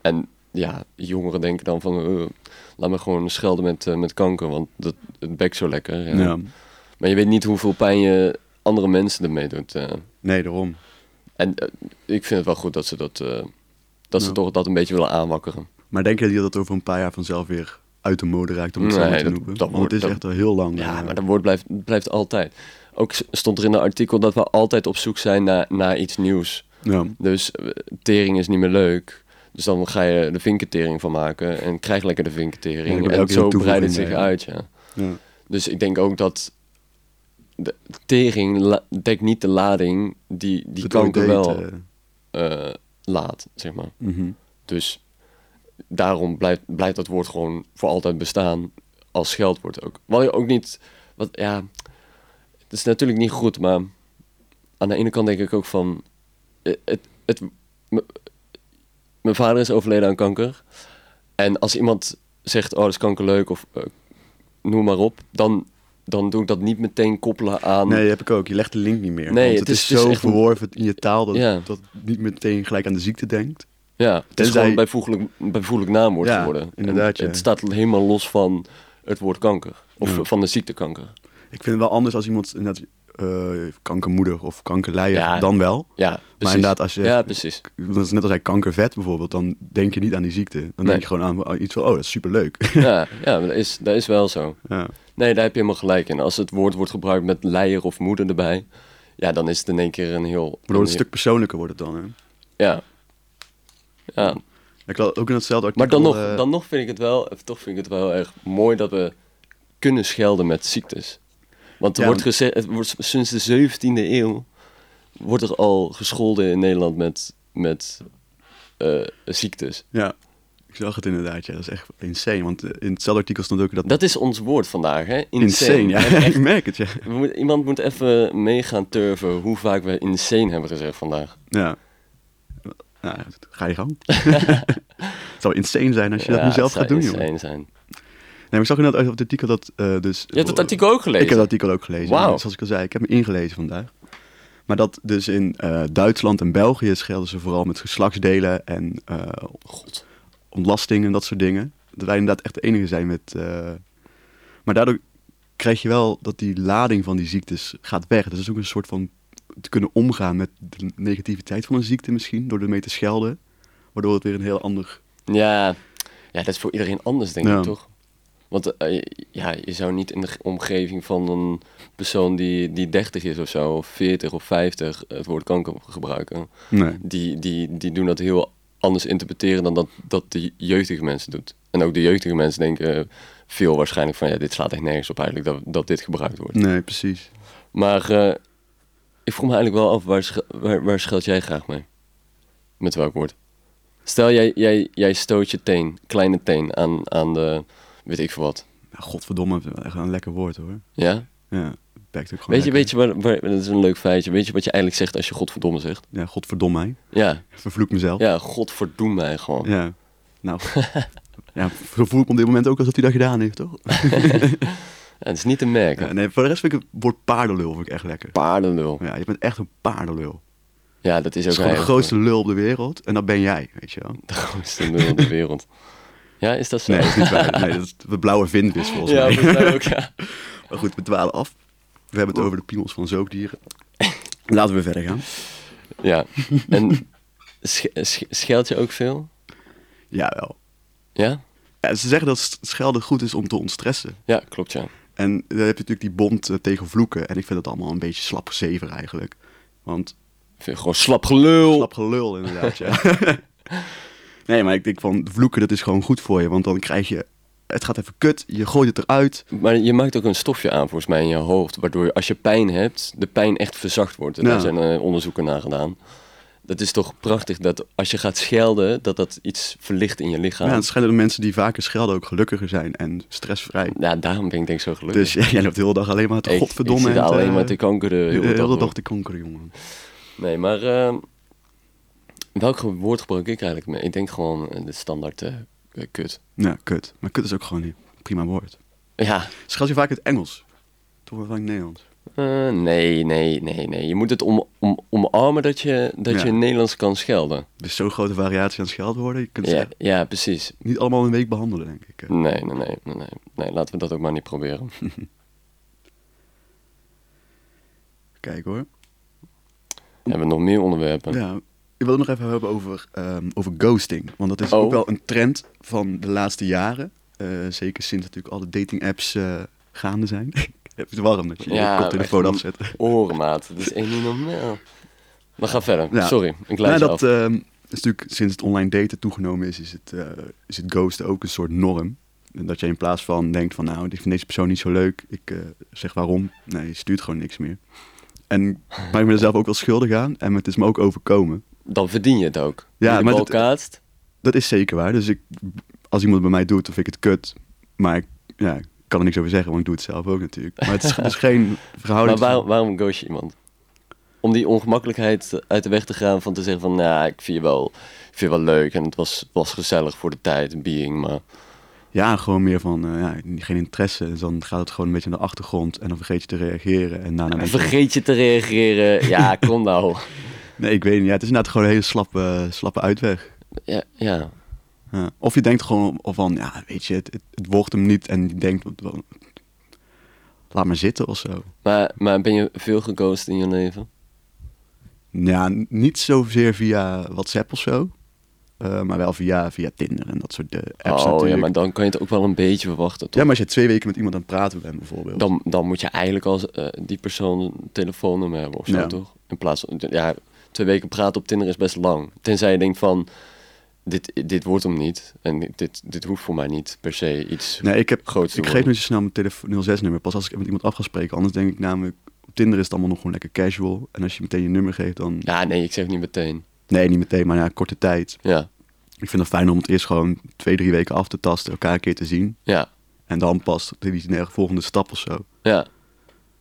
B: En ja, jongeren denken dan van eh, laat me gewoon schelden met, eh, met kanker, want dat, het bekt zo lekker. Ja.
A: Ja.
B: Maar je weet niet hoeveel pijn je andere mensen ermee doet. eh.
A: Nee, daarom.
B: En eh, ik vind het wel goed dat ze dat, eh, dat ze
A: Ja.
B: toch dat een beetje willen aanwakkeren.
A: Maar denk je dat dat over een paar jaar vanzelf weer uit de mode raakt, om het zo
B: Nee,
A: maar te
B: dat-
A: noemen?
B: dat
A: Want
B: wordt-
A: het is
B: dat-
A: echt al heel lang.
B: Ja,
A: eh,
B: maar dat woord blijft, blijft altijd. Ook s- stond er in een artikel dat we altijd op zoek zijn naar, naar iets nieuws.
A: ja.
B: Dus eh, tering is niet meer leuk. Dus dan ga je de vinkentering van maken en krijg lekker de
A: Ja, ik
B: vinkentering.
A: ben
B: en
A: elke keer
B: zo
A: een
B: breidt het zich
A: toevoeging, ja.
B: uit, ja.
A: Ja.
B: Dus ik denk ook dat de tering la- dekt niet de lading die, die
A: Het ooit
B: kanker
A: deed,
B: wel
A: eh,
B: eh, laat, zeg maar.
A: mhm.
B: Dus daarom blijft, blijft dat woord gewoon voor altijd bestaan als scheldwoord ook. Wat ik ook niet, wat ja, het is natuurlijk niet goed, maar aan de ene kant denk ik ook van, eh, het, het, m- mijn vader is overleden aan kanker. En als iemand zegt, oh, dat is kanker leuk of eh, noem maar op, dan, dan doe ik dat niet meteen koppelen aan.
A: Nee, heb ik ook. Je legt de link niet meer.
B: Nee,
A: want
B: het
A: het
B: is-
A: is,
B: het is
A: zo
B: echt een-
A: verworven in je taal dat,
B: Ja.
A: dat het niet meteen gelijk aan de ziekte denkt.
B: Ja, het is
A: Tenzij-
B: gewoon een bijvoorbeeld, bijvoorbeeld naamwoord
A: Ja,
B: geworden.
A: inderdaad,
B: En
A: ja. Mm.
B: Het staat helemaal los van het woord kanker. Of
A: Ja.
B: van de ziekte kanker.
A: Ik vind het wel anders als iemand inderdaad, eh, kankermoeder of kankerleier,
B: Ja.
A: dan wel.
B: Ja, precies.
A: Maar inderdaad, als je...
B: Ja, precies.
A: Dat is net als hij kankervet bijvoorbeeld, dan denk je niet aan die ziekte. Dan
B: Nee.
A: denk je gewoon aan aan iets van, oh, dat is superleuk. *laughs*
B: ja, ja maar dat, is, dat is wel zo.
A: ja.
B: Nee, daar heb je helemaal gelijk in. Als het woord wordt gebruikt met leier of moeder erbij... Ja, dan is het in één keer een heel...
A: Waardoor
B: een
A: het een stuk persoonlijker wordt het dan, hè.
B: heel- Ja. Ja,
A: Ik had ook in hetzelfde
B: maar
A: artikel...
B: dan nog,
A: eh,
B: dan nog vind ik het wel... of Toch vind ik het wel erg mooi dat we kunnen schelden met ziektes. Want er
A: Ja,
B: wordt
A: maar-
B: gezegd... Het wordt, sinds de 17e eeuw wordt er al gescholden in Nederland met, met eh, ziektes.
A: Ja, ik zag het inderdaad. Ja, dat is echt insane. Want eh, in hetzelfde artikel stond ook dat...
B: Dat is ons woord vandaag, hè? Insane.
A: ja.
B: Echt
A: *laughs* ik merk het, ja.
B: We moet- iemand moet even mee gaan turven hoe vaak we insane hebben gezegd vandaag.
A: ja. Nou, ja, ga je
B: *laughs*
A: gang. het zou insane zijn als je
B: Ja,
A: dat nu zelf
B: het
A: gaat
B: zou
A: doen, joh. Nee,
B: insane zijn.
A: maar ik zag inderdaad uit op het artikel dat... eh, dus,
B: Je hebt het artikel ook gelezen?
A: Ik heb het artikel ook gelezen.
B: Wauw.
A: ja. Zoals ik al zei, ik heb hem ingelezen vandaag. Maar dat dus in eh, Duitsland en België schelden ze vooral met geslachtsdelen en eh,
B: God.
A: ontlasting en dat soort dingen. Dat wij inderdaad echt de enige zijn met... eh, Maar daardoor krijg je wel dat die lading van die ziektes gaat weg. Dat is ook een soort van te kunnen omgaan met de negativiteit van een ziekte misschien, door ermee te schelden. Waardoor het weer een heel ander...
B: Ja. ja, dat is voor iedereen anders, denk
A: Ja.
B: ik, toch? Want eh, je- ja, je zou niet in de ge- omgeving van een persoon die, die 30 is of zo, of 40 of 50, het woord kanker gebruiken.
A: Nee.
B: Die, die, die doen dat heel anders interpreteren dan dat, dat de jeugdige mensen doet. En ook de jeugdige mensen denken eh, veel waarschijnlijk van, ja, dit slaat echt nergens op eigenlijk, dat, dat dit gebruikt wordt.
A: Nee, precies.
B: Maar eh, ik vroeg me eigenlijk wel af, waar, sche- waar, waar scheld jij graag mee? Met welk woord? Stel, jij, jij, jij stoot je teen, kleine teen, aan, aan de, weet ik veel wat.
A: Ja, Nou, godverdomme, echt een lekker woord hoor.
B: Ja?
A: Ja, het werkt ook gewoon
B: Weet
A: lekker.
B: je, weet je waar, waar- dat is een leuk feitje, weet je wat je eigenlijk zegt als je godverdomme zegt?
A: Ja, godverdomme mij.
B: Ja,
A: Vervloek mezelf.
B: ja, godverdoem mij gewoon.
A: Ja. Nou, *laughs* ja, zo voel ik me op dit moment ook alsof hij dat gedaan heeft, toch?
B: Ja, het is niet te merken.
A: Ja, nee, voor de rest vind ik het woord paardenlul vind ik echt lekker.
B: Paardenlul.
A: Ja, je bent echt een paardenlul.
B: Ja,
A: Het
B: dat is ook
A: is gewoon de
B: eigenlijk-
A: grootste lul op de wereld en dat ben jij, weet je wel.
B: De grootste lul in de wereld. Ja, is dat zo?
A: Nee, dat
B: *laughs*
A: is niet waar. Nee, dat is de blauwe vinvis volgens
B: ja,
A: mij.
B: volgens mij ook, ja.
A: *laughs* Maar goed, we dwalen af. We hebben het over de piemels van zoogdieren. Laten we verder gaan.
B: Ja,
A: *laughs*
B: en sch sch- scheld je ook veel?
A: Jawel.
B: Ja?
A: Ja, ze zeggen dat s- schelden goed is om te ontstressen.
B: Ja, klopt ja.
A: En dan heb je natuurlijk die bond eh, tegen vloeken. En ik vind dat allemaal een beetje slap gezever eigenlijk. Want
B: Ik vind gewoon slap gelul.
A: slap gelul inderdaad, ja. *laughs* nee, maar ik denk van vloeken, dat is gewoon goed voor je. Want dan krijg je, het gaat even kut, je gooit het eruit.
B: Maar je maakt ook een stofje aan volgens mij in je hoofd, waardoor je, als je pijn hebt, de pijn echt verzacht wordt. En
A: Ja.
B: daar zijn eh, onderzoeken naar gedaan. Dat is toch prachtig dat als je gaat schelden, dat dat iets verlicht in je lichaam.
A: Ja,
B: Ja,
A: het schijnen de mensen die vaker schelden ook gelukkiger zijn en stressvrij.
B: daarom ben ik denk ik zo gelukkig.
A: Dus *laughs* ja, jij loopt de hele dag alleen maar te
B: ik,
A: godverdomme.
B: ik zit
A: en te-
B: alleen maar te kankeren.
A: de
B: heel de dag
A: hele
B: door.
A: dag te konkeren, jongen.
B: Nee, maar eh, welk woord gebruik ik eigenlijk? Ik denk gewoon eh, de standaard eh, eh, kut.
A: Ja, kut. Maar kut is ook gewoon een prima woord.
B: Ja,
A: Scheld je vaak in het Engels? Toch wel vaak in het Nederlands?
B: Eh, nee, nee, nee, nee. Je moet het om, om, omarmen dat je, dat
A: Ja.
B: je Nederlands kan schelden.
A: Er is zo'n grote variatie aan scheldwoorden. Je kunt ze
B: Ja, ja, precies.
A: niet allemaal in een week behandelen, denk ik. Eh,
B: Nee, nee, nee, nee, nee. Nee, laten we dat ook maar niet proberen.
A: Kijk hoor.
B: Hebben we nog meer onderwerpen?
A: Ja, ik wil het nog even hebben over, ehm, over ghosting. Want dat is
B: Oh.
A: ook wel een trend van de laatste jaren. Eh, zeker sinds natuurlijk alle dating apps eh, gaande zijn. *laughs* het is warm dat je
B: Ja,
A: je koptelefoon
B: echt.
A: afzet. *laughs*
B: Orenmaat, dat is echt niet normaal. Maar ga verder.
A: Ja.
B: Sorry, ik leid
A: Nou,
B: je
A: dat
B: af.
A: ehm, is natuurlijk sinds het online daten toegenomen is, is het, eh, is het ghosten ook een soort norm. En dat je in plaats van denkt van, nou, ik vind deze persoon niet zo leuk, ik eh, zeg waarom. Nee, je stuurt gewoon niks meer. En ik maak me er zelf ook wel schuldig aan en het is me ook overkomen.
B: Dan verdien je het ook.
A: Ja,
B: Ja, je
A: maar
B: bal
A: dat- eh, oh,
B: kaatst,
A: Dat is zeker waar. Dus ik, als iemand bij mij doet, dan vind ik het kut. Maar ik, ja, ik kan er niks over zeggen, want ik doe het zelf ook natuurlijk. Maar
B: *laughs*
A: het is, het is geen
B: Maar
A: verhouding.
B: waarom, waarom ghost je iemand? Om die ongemakkelijkheid uit de weg te gaan van te zeggen van... Nou, ik vind je wel, ik vind je wel leuk en het was, was gezellig voor de tijd, een being, maar...
A: Ja, gewoon meer van, eh, ja, geen interesse. Dus dan gaat het gewoon een beetje naar de achtergrond en dan vergeet je te reageren. En daarna denk je,
B: Vergeet je te
A: *laughs*
B: reageren. Ja, kom nou.
A: Nee, ik weet niet. Ja, het is inderdaad gewoon een hele slappe, slappe uitweg.
B: Ja, ja.
A: Ja. Of je denkt gewoon van, ja, weet je, het, het, het wordt hem niet. En je denkt, wat- wat- laat maar zitten of zo.
B: Maar, maar ben je veel geghost in je leven?
A: Ja, n- niet zozeer via WhatsApp of zo. eh, maar wel via, via Tinder en dat soort eh, apps
B: oh
A: natuurlijk.
B: ja, maar dan kan je het ook wel een beetje verwachten, toch?
A: als je twee weken met iemand aan het praten bent bijvoorbeeld.
B: Dan, dan moet je eigenlijk als eh, die persoon een telefoonnummer hebben of zo,
A: Ja.
B: toch? In plaats van, ja, twee weken praten op Tinder is best lang. Tenzij je denkt van, dit, dit wordt hem niet. En dit, dit hoeft voor mij niet per se iets.
A: Nee, ik, heb,
B: Groot te
A: ik geef
B: worden.
A: nu zo snel mijn telefoon 06-nummer. Pas als ik met iemand af ga spreken. Anders denk ik namelijk, op Tinder is het allemaal nog gewoon lekker casual. En als je meteen je nummer geeft, dan...
B: Ja, nee, ik zeg niet meteen.
A: Nee, niet meteen, maar na korte tijd.
B: Ja,
A: Ik vind het fijn om het eerst gewoon twee, drie weken af te tasten, elkaar een keer te zien.
B: ja,
A: En dan pas die ne- volgende stap of zo
B: ja.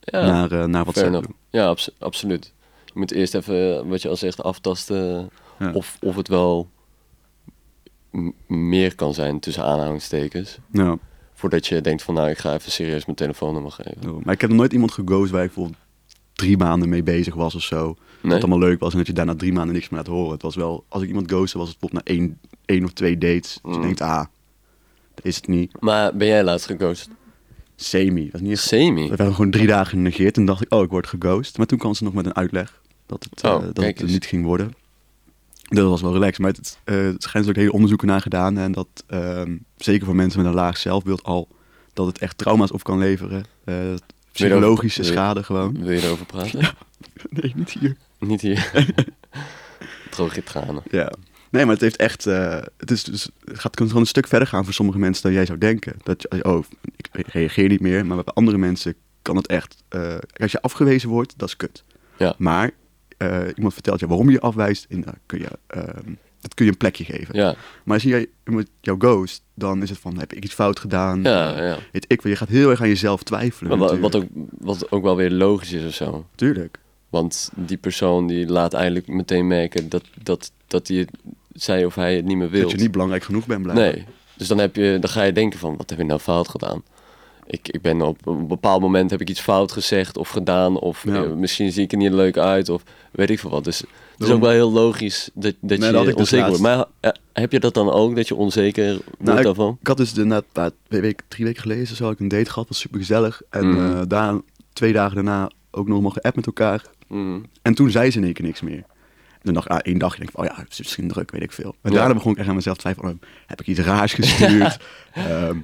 B: Ja,
A: naar, eh, naar
B: fair
A: WhatsApp.
B: enough.
A: toe.
B: Ja, abso- absoluut. Je moet eerst even, eh, wat je al zegt, aftasten.
A: Ja.
B: Of, of het wel m- meer kan zijn tussen aanhalingstekens.
A: Ja,
B: Voordat je denkt van nou, ik ga even serieus mijn telefoonnummer geven.
A: daarom. maar ik heb nog nooit iemand geghost waar ik bijvoorbeeld drie maanden mee bezig was of zo. Dat
B: Nee?
A: het allemaal leuk was en dat je daarna drie maanden niks meer laat horen. Het was wel, als ik iemand ghostte, was het bijvoorbeeld na één, één of twee dates. Dus je
B: Mm.
A: denkt, ah, dat is het niet.
B: Maar ben jij laatst geghost?
A: Semi. Dat is niet echt...
B: Semi?
A: We hebben gewoon drie dagen genegeerd en dacht ik, oh, ik word geghost. Maar toen kwam ze nog met een uitleg dat het, eh,
B: Oh,
A: dat
B: kijk
A: het er
B: eens.
A: niet ging worden. Dat was wel relaxed. Maar het, eh er schijnt ook hele onderzoeken naar gedaan. En dat ehm, zeker voor mensen met een laag zelfbeeld al, dat het echt trauma's op kan leveren. Eh, psychologische
B: Weer-
A: schade gewoon.
B: Wil je erover
A: *laughs*
B: praten?
A: Nee, niet hier. *laughs*
B: Niet hier. Droog je tranen.
A: Ja. Nee, maar het heeft echt. eh, het, is dus, het gaat gewoon een stuk verder gaan voor sommige mensen dan jij zou denken. Dat je, oh, ik reageer niet meer. Maar bij andere mensen kan het echt. eh, kijk, als je afgewezen wordt, dat is kut.
B: Ja.
A: Maar eh, iemand vertelt je waarom je je afwijst. En daar kun je, ehm, dat kun je een plekje geven.
B: Ja,
A: Maar zie jij iemand jouw ghost, dan is het van: heb ik iets fout gedaan?
B: ja, ja.
A: Weet ik, wel, je gaat heel erg aan jezelf twijfelen.
B: Maar wat, wat,
A: natuurlijk.
B: ook, wat ook wel weer logisch is of zo.
A: Tuurlijk.
B: Want die persoon die laat eigenlijk meteen merken dat, dat, dat hij het, zij of hij het niet meer wil.
A: Dat je niet belangrijk genoeg bent, blijkbaar.
B: Nee. Dus dan, heb je, dan ga je denken van, wat heb ik nou fout gedaan? Ik, ik ben op een bepaald moment heb ik iets fout gezegd of gedaan. Of
A: Ja.
B: eh, misschien zie ik er niet leuk uit. Of weet ik veel wat. Dus het is
A: Daarom-
B: ook wel heel logisch dat, dat
A: Nee, dat had
B: je
A: ik dus
B: onzeker wordt.
A: laatst.
B: Maar eh, heb je dat dan ook, dat je onzeker wordt
A: Nou, ik-
B: daarvan?
A: Ik had dus de, net, nou, twee weken, drie weken geleden zo, had ik een date gehad, was super gezellig. En
B: Mhm.
A: eh, daar, twee dagen daarna ook nog maar geappt met elkaar.
B: Mm.
A: En toen zei ze in één keer niks meer. En dan dacht ik, ah, één dagje, denk ik, van, oh ja, het is misschien druk, weet ik veel. En
B: Ja. *laughs*
A: daarna begon ik echt aan mezelf te twijfelen, oh, heb ik iets raars gestuurd? Ehm,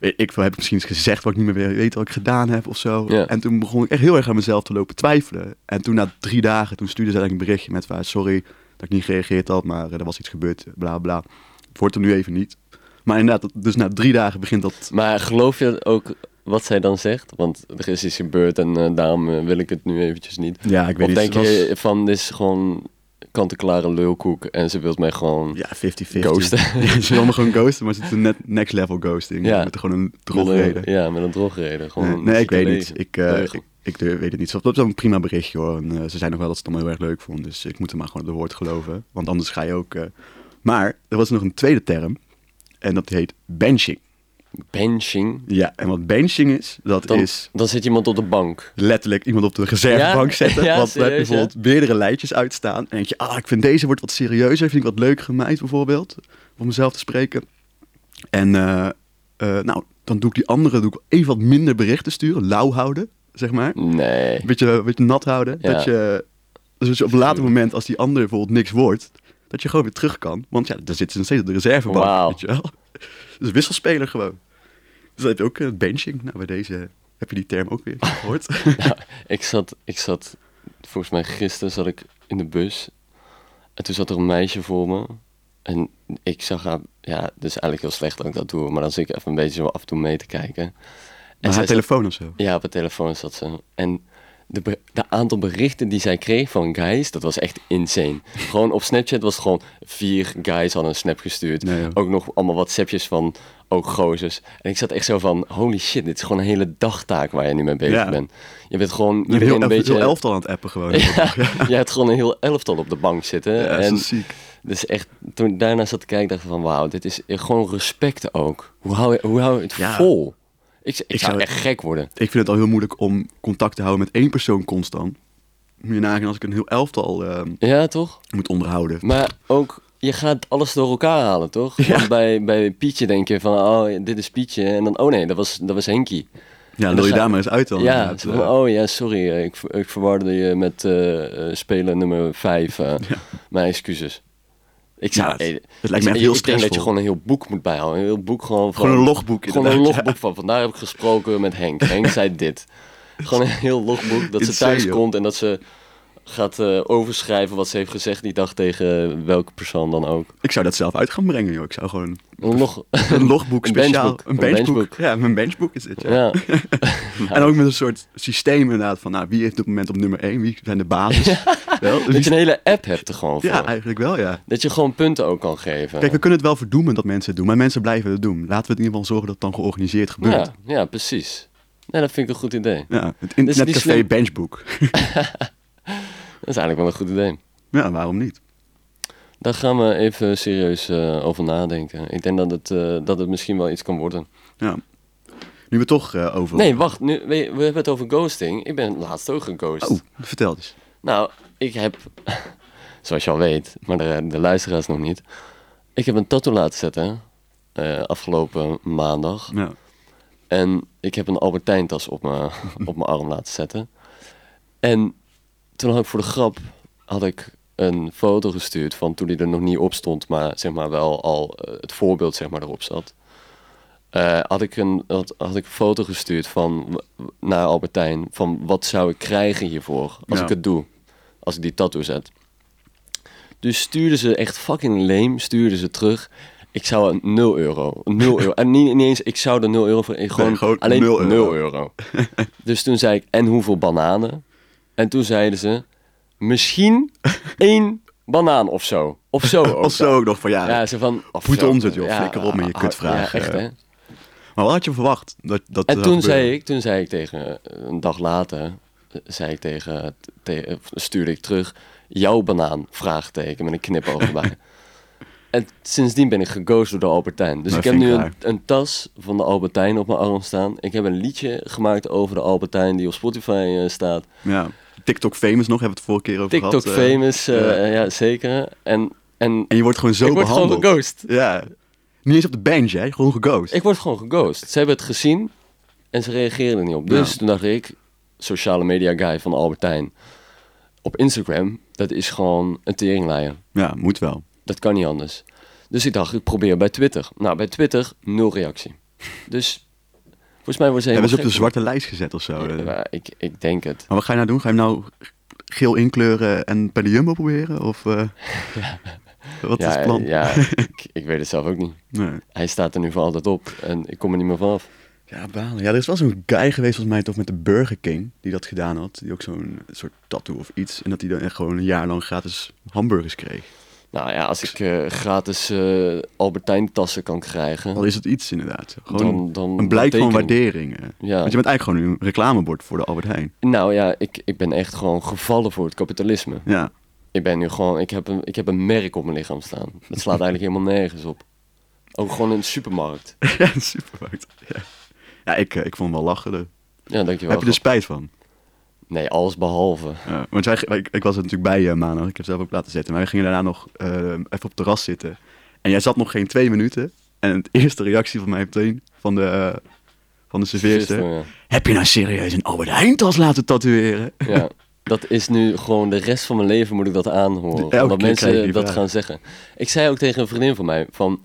A: Ik, ik heb misschien eens gezegd wat ik niet meer weet wat ik gedaan heb of zo.
B: Ja.
A: En toen begon ik echt heel erg aan mezelf te lopen twijfelen. En toen na drie dagen, toen stuurde ze eigenlijk een berichtje met waar, sorry dat ik niet gereageerd had, maar eh, er was iets gebeurd, bla bla. Het wordt er nu even niet. Maar inderdaad, dus na drie dagen begint dat...
B: Maar geloof je ook wat zij dan zegt? Want er is iets gebeurd en eh, daarom eh, wil ik het nu eventjes niet.
A: Ja, ik
B: of denk je van, dit is gewoon kant-en-klare lulkoek en ze wilt mij gewoon...
A: Ja, 50-50.
B: Ghosten.
A: *laughs* Ja, ze wilden gewoon ghosten, maar ze is net next level ghosting.
B: Ja.
A: Met gewoon een
B: met een-
A: drogreden.
B: Ja, met een drogreden. Gewoon
A: Nee,
B: om
A: nee,
B: ze
A: ik
B: te
A: weet
B: lezen.
A: niet. Ik, eh,
B: Leuk.
A: ik, ik durf- weet het niet. Dat is een prima berichtje hoor. En, eh, ze zei nog wel dat ze het allemaal heel erg leuk vond. Dus ik moet er maar gewoon op de woord geloven. Want anders ga je ook... eh. Maar er was nog een tweede term. En dat heet benching.
B: Benching.
A: Ja, en wat benching is, dat
B: Dan,
A: is
B: dan zit iemand op de bank.
A: letterlijk iemand op de reservebank
B: Ja?
A: zetten.
B: *laughs* Ja,
A: want dan heb je
B: serieus, ja?
A: bijvoorbeeld meerdere lijntjes uitstaan. En denk je, ah, ik vind deze wordt wat serieuzer. Vind ik wat leuk gemaakt bijvoorbeeld. Om mezelf te spreken. En eh, eh, nou, dan doe ik die andere doe ik even wat minder berichten sturen. Lauw houden, zeg maar. *laughs*
B: Nee.
A: Een beetje, een beetje nat houden.
B: Ja.
A: Dat je, dus dat je op een later moment, als die ander bijvoorbeeld niks wordt, dat je gewoon weer terug kan. Want ja, daar zitten ze nog steeds op de reservebank,
B: Wauw.
A: weet je wel. Dus wiselspeler gewoon. Dus dan heb je ook eh, benching. Nou, bij deze heb je die term ook weer gehoord.
B: *laughs* Ik zat, ik zat, volgens mij gisteren zat ik in de bus. En toen zat er een meisje voor me. En ik zag haar, ja, het is eigenlijk heel slecht dat ik dat doe. Maar dan zit ik even een beetje zo af en toe mee te kijken. En
A: Maar
B: zij
A: haar
B: zat-
A: telefoon of zo.
B: Ja, op haar telefoon zat ze. En de, be- de aantal berichten die zij kreeg van guys, dat was echt insane. gewoon op Snapchat was het gewoon vier guys hadden een snap gestuurd.
A: Nee, joh.
B: ook nog allemaal WhatsAppjes van ook gozers. En ik zat echt zo van, holy shit, dit is gewoon een hele dagtaak waar je nu mee bezig
A: Ja.
B: bent. Je bent gewoon
A: Een
B: iedereen
A: heel,
B: een beetje...
A: heel elftal aan het appen gewoon. Ja,
B: *laughs* Ja, je hebt gewoon een heel elftal op de bank zitten.
A: dat is
B: en
A: wel ziek.
B: dus echt, toen ik daarna zat te kijken, dacht ik van wauw, dit is gewoon respect ook. Hoe hou je, hoe hou je het
A: Ja.
B: vol? Ik, ik,
A: Ik
B: zou,
A: zou-
B: echt gek worden.
A: Ik vind het al heel moeilijk om contact te houden met één persoon constant. Moet je nagaan als ik een heel elftal ehm,
B: Ja, toch?
A: moet onderhouden.
B: Maar ook, je gaat alles door elkaar halen, toch? Want bij, bij Pietje denk je van, oh, dit is Pietje. En dan, oh nee, dat was, dat was Henkie.
A: Ja,
B: dan
A: lul je
B: ga-
A: daar maar eens uit dan.
B: ja,
A: inderdaad.
B: zo van, oh ja, sorry, eh, ik, ver- ik verwarde je met eh, eh, speler nummer 5. Mijn excuses. Ik zou,
A: Ja, het-
B: eh,
A: het lijkt me echt
B: ik-
A: heel
B: Ik denk dat je
A: stressvol.
B: gewoon een heel boek moet bijhouden. Een heel boek gewoon van...
A: Gewoon een logboek
B: Gewoon een
A: inderdaad,
B: logboek van, vandaar heb ik gesproken met Henk. Henk zei dit. Gewoon een heel logboek dat ze
A: Insane,
B: thuis
A: joh.
B: komt en dat ze gaat eh, overschrijven wat ze heeft gezegd die dag tegen welke persoon dan ook.
A: Ik zou dat zelf uit gaan brengen, joh. Ik zou
B: *laughs*
A: gewoon
B: Een log...
A: een logboek
B: Een
A: speciaal.
B: benchboek. Een benchboek.
A: Ja, mijn benchboek is het. Ja. *laughs*
B: ja.
A: En ook met een soort systeem inderdaad van, nou, wie heeft op het moment op nummer 1? Wie zijn de
B: *laughs*
A: basis? Wel, wie-
B: Dat je een hele app hebt er gewoon voor.
A: ja, eigenlijk wel, ja.
B: Dat je gewoon punten ook kan geven.
A: Kijk, we kunnen het wel verdoemen dat mensen het doen, maar mensen blijven het doen. Laten we het in ieder geval zorgen dat het dan georganiseerd gebeurt.
B: ja,
A: Ja.
B: ja, precies. Nee, dat vind ik een goed idee.
A: het
B: Dus niet
A: internetcafé
B: slim.
A: benchboek.
B: Dat is eigenlijk wel een goed idee.
A: *laughs* Ja, waarom niet?
B: Daar gaan we even serieus eh, over nadenken. Ik denk dat het, eh, dat het misschien wel iets kan worden.
A: Ja. Nu we toch eh, over...
B: Nee, wacht. Nu, we, we hebben het over ghosting. Ik ben laatst ook geghost.
A: Oh, vertel eens.
B: Nou, ik heb, *laughs* zoals je al weet, maar de, de luisteraars nog niet. Ik heb een tattoo laten zetten eh, afgelopen maandag.
A: Ja.
B: En ik heb een Albertijntas op mijn, op mijn arm laten zetten. En toen had ik voor de grap had ik een foto gestuurd van toen die er nog niet op stond, maar zeg maar wel al eh, het voorbeeld zeg maar erop zat. Eh, had, ik een, had, had ik een foto gestuurd van, w- naar Albertijn van wat zou ik krijgen hiervoor als
A: Ja.
B: ik het doe, als ik die tattoo zet. Dus stuurden ze echt fucking leem, stuurden ze terug. Ik zou een 0 euro. 0 euro. En niet, niet eens, ik zou er 0 euro voor. Gewoon,
A: gewoon
B: alleen
A: 0
B: 0
A: euro.
B: euro.
A: *laughs*
B: dus toen zei ik, en hoeveel bananen? En toen zeiden ze,
A: *laughs*
B: misschien één banaan of zo. Of zo ook.
A: Of zo ook nog van, ja.
B: Ja, ze van... of
A: Voet
B: zo.
A: ons het, joh. Flikker op met je
B: ah,
A: kutvraag,
B: Ja, echt,
A: eh.
B: hè.
A: Maar wat had je verwacht? Dat, dat
B: En
A: zou
B: toen
A: gebeuren?
B: zei, ik, toen zei ik tegen, eh, een dag later, eh, zei ik tegen, te- of stuurde ik terug, jouw banaan, vraagteken, met een
A: *laughs*
B: knipoog erbij. en sindsdien ben ik geghost door de Albertijn. Dus
A: Nou,
B: ik heb
A: vind
B: nu
A: ik
B: een,
A: raar.
B: een tas van de Albertijn op mijn arm staan. Ik heb een liedje gemaakt over de Albertijn die op Spotify eh, staat.
A: Ja. TikTok famous nog, hebben we het vorige keer over
B: TikTok
A: gehad. eh.
B: famous, eh,
A: ja.
B: ja zeker. En, en
A: En je wordt gewoon zo
B: ik word
A: behandeld.
B: gewoon geghost.
A: Ja. Niet eens op de bench, hè? Gewoon geghost.
B: Ik word gewoon geghost. Ze hebben het gezien en ze reageren er niet op. Dus
A: Ja.
B: toen dacht ik, sociale media guy van Albertijn, op Instagram, dat is gewoon een teringleier.
A: Ja, moet wel.
B: Dat kan niet anders. Dus ik dacht, ik probeer bij Twitter. Nou, bij Twitter nul reactie. Dus Volgens mij wordt ze
A: Hebben
B: helemaal
A: ze op de
B: gek.
A: zwarte lijst gezet of zo?
B: Ja,
A: eh?
B: maar ik, ik denk het.
A: Maar wat ga je nou doen? Ga je hem nou geel inkleuren en bij de Jumbo proberen? Of *laughs* eh, wat is
B: ja,
A: het plan? *laughs*
B: ja ik, ik weet het zelf ook niet.
A: Nee.
B: Hij staat er nu voor altijd op en ik kom er niet meer vanaf.
A: Ja, balen. Ja, er is wel zo'n guy geweest volgens mij toch met de Burger King die dat gedaan had. Die ook zo'n soort tattoo of iets. En dat hij dan echt gewoon een jaar lang gratis hamburgers kreeg.
B: Nou ja, als ik eh, gratis eh Albertijn tassen kan krijgen,
A: Al is het iets inderdaad. Gewoon
B: dan, dan...
A: een blijk van
B: teken ik.
A: waardering. eh.
B: Ja.
A: Want je bent eigenlijk gewoon een reclamebord voor de Albert Heijn.
B: Nou ja, ik, ik ben echt gewoon gevallen voor het kapitalisme.
A: Ja, *laughs*
B: Ik ben nu gewoon, ik heb een, ik heb een merk op mijn lichaam staan. Dat slaat eigenlijk helemaal nergens op. Ook gewoon in de supermarkt.
A: ja een supermarkt. Ja, ja ik, eh, ik vond hem wel lachen. eh.
B: Ja, dankjewel.
A: Heb je dus- er spijt van?
B: Nee, alles behalve.
A: Ja, want wij, wij- ik, ik was er natuurlijk bij eh Mano, ik heb het zelf ook laten zetten. Maar wij gingen daarna nog eh, even op het terras zitten. En jij zat nog geen twee minuten. En de *laughs* eerste reactie van mij meteen, van de, eh, van de serveerster...
B: Gisteren,
A: Heb je nou serieus een Albert Heijn-tas laten tatoeëren?
B: ja. Ja. Dat is nu gewoon de rest van mijn leven moet ik dat
A: Elke
B: aanhoren.
A: keer
B: Omdat
A: krijg je
B: mensen
A: die
B: dat
A: vraag.
B: gaan zeggen. Ik zei ook tegen een vriendin van mij van...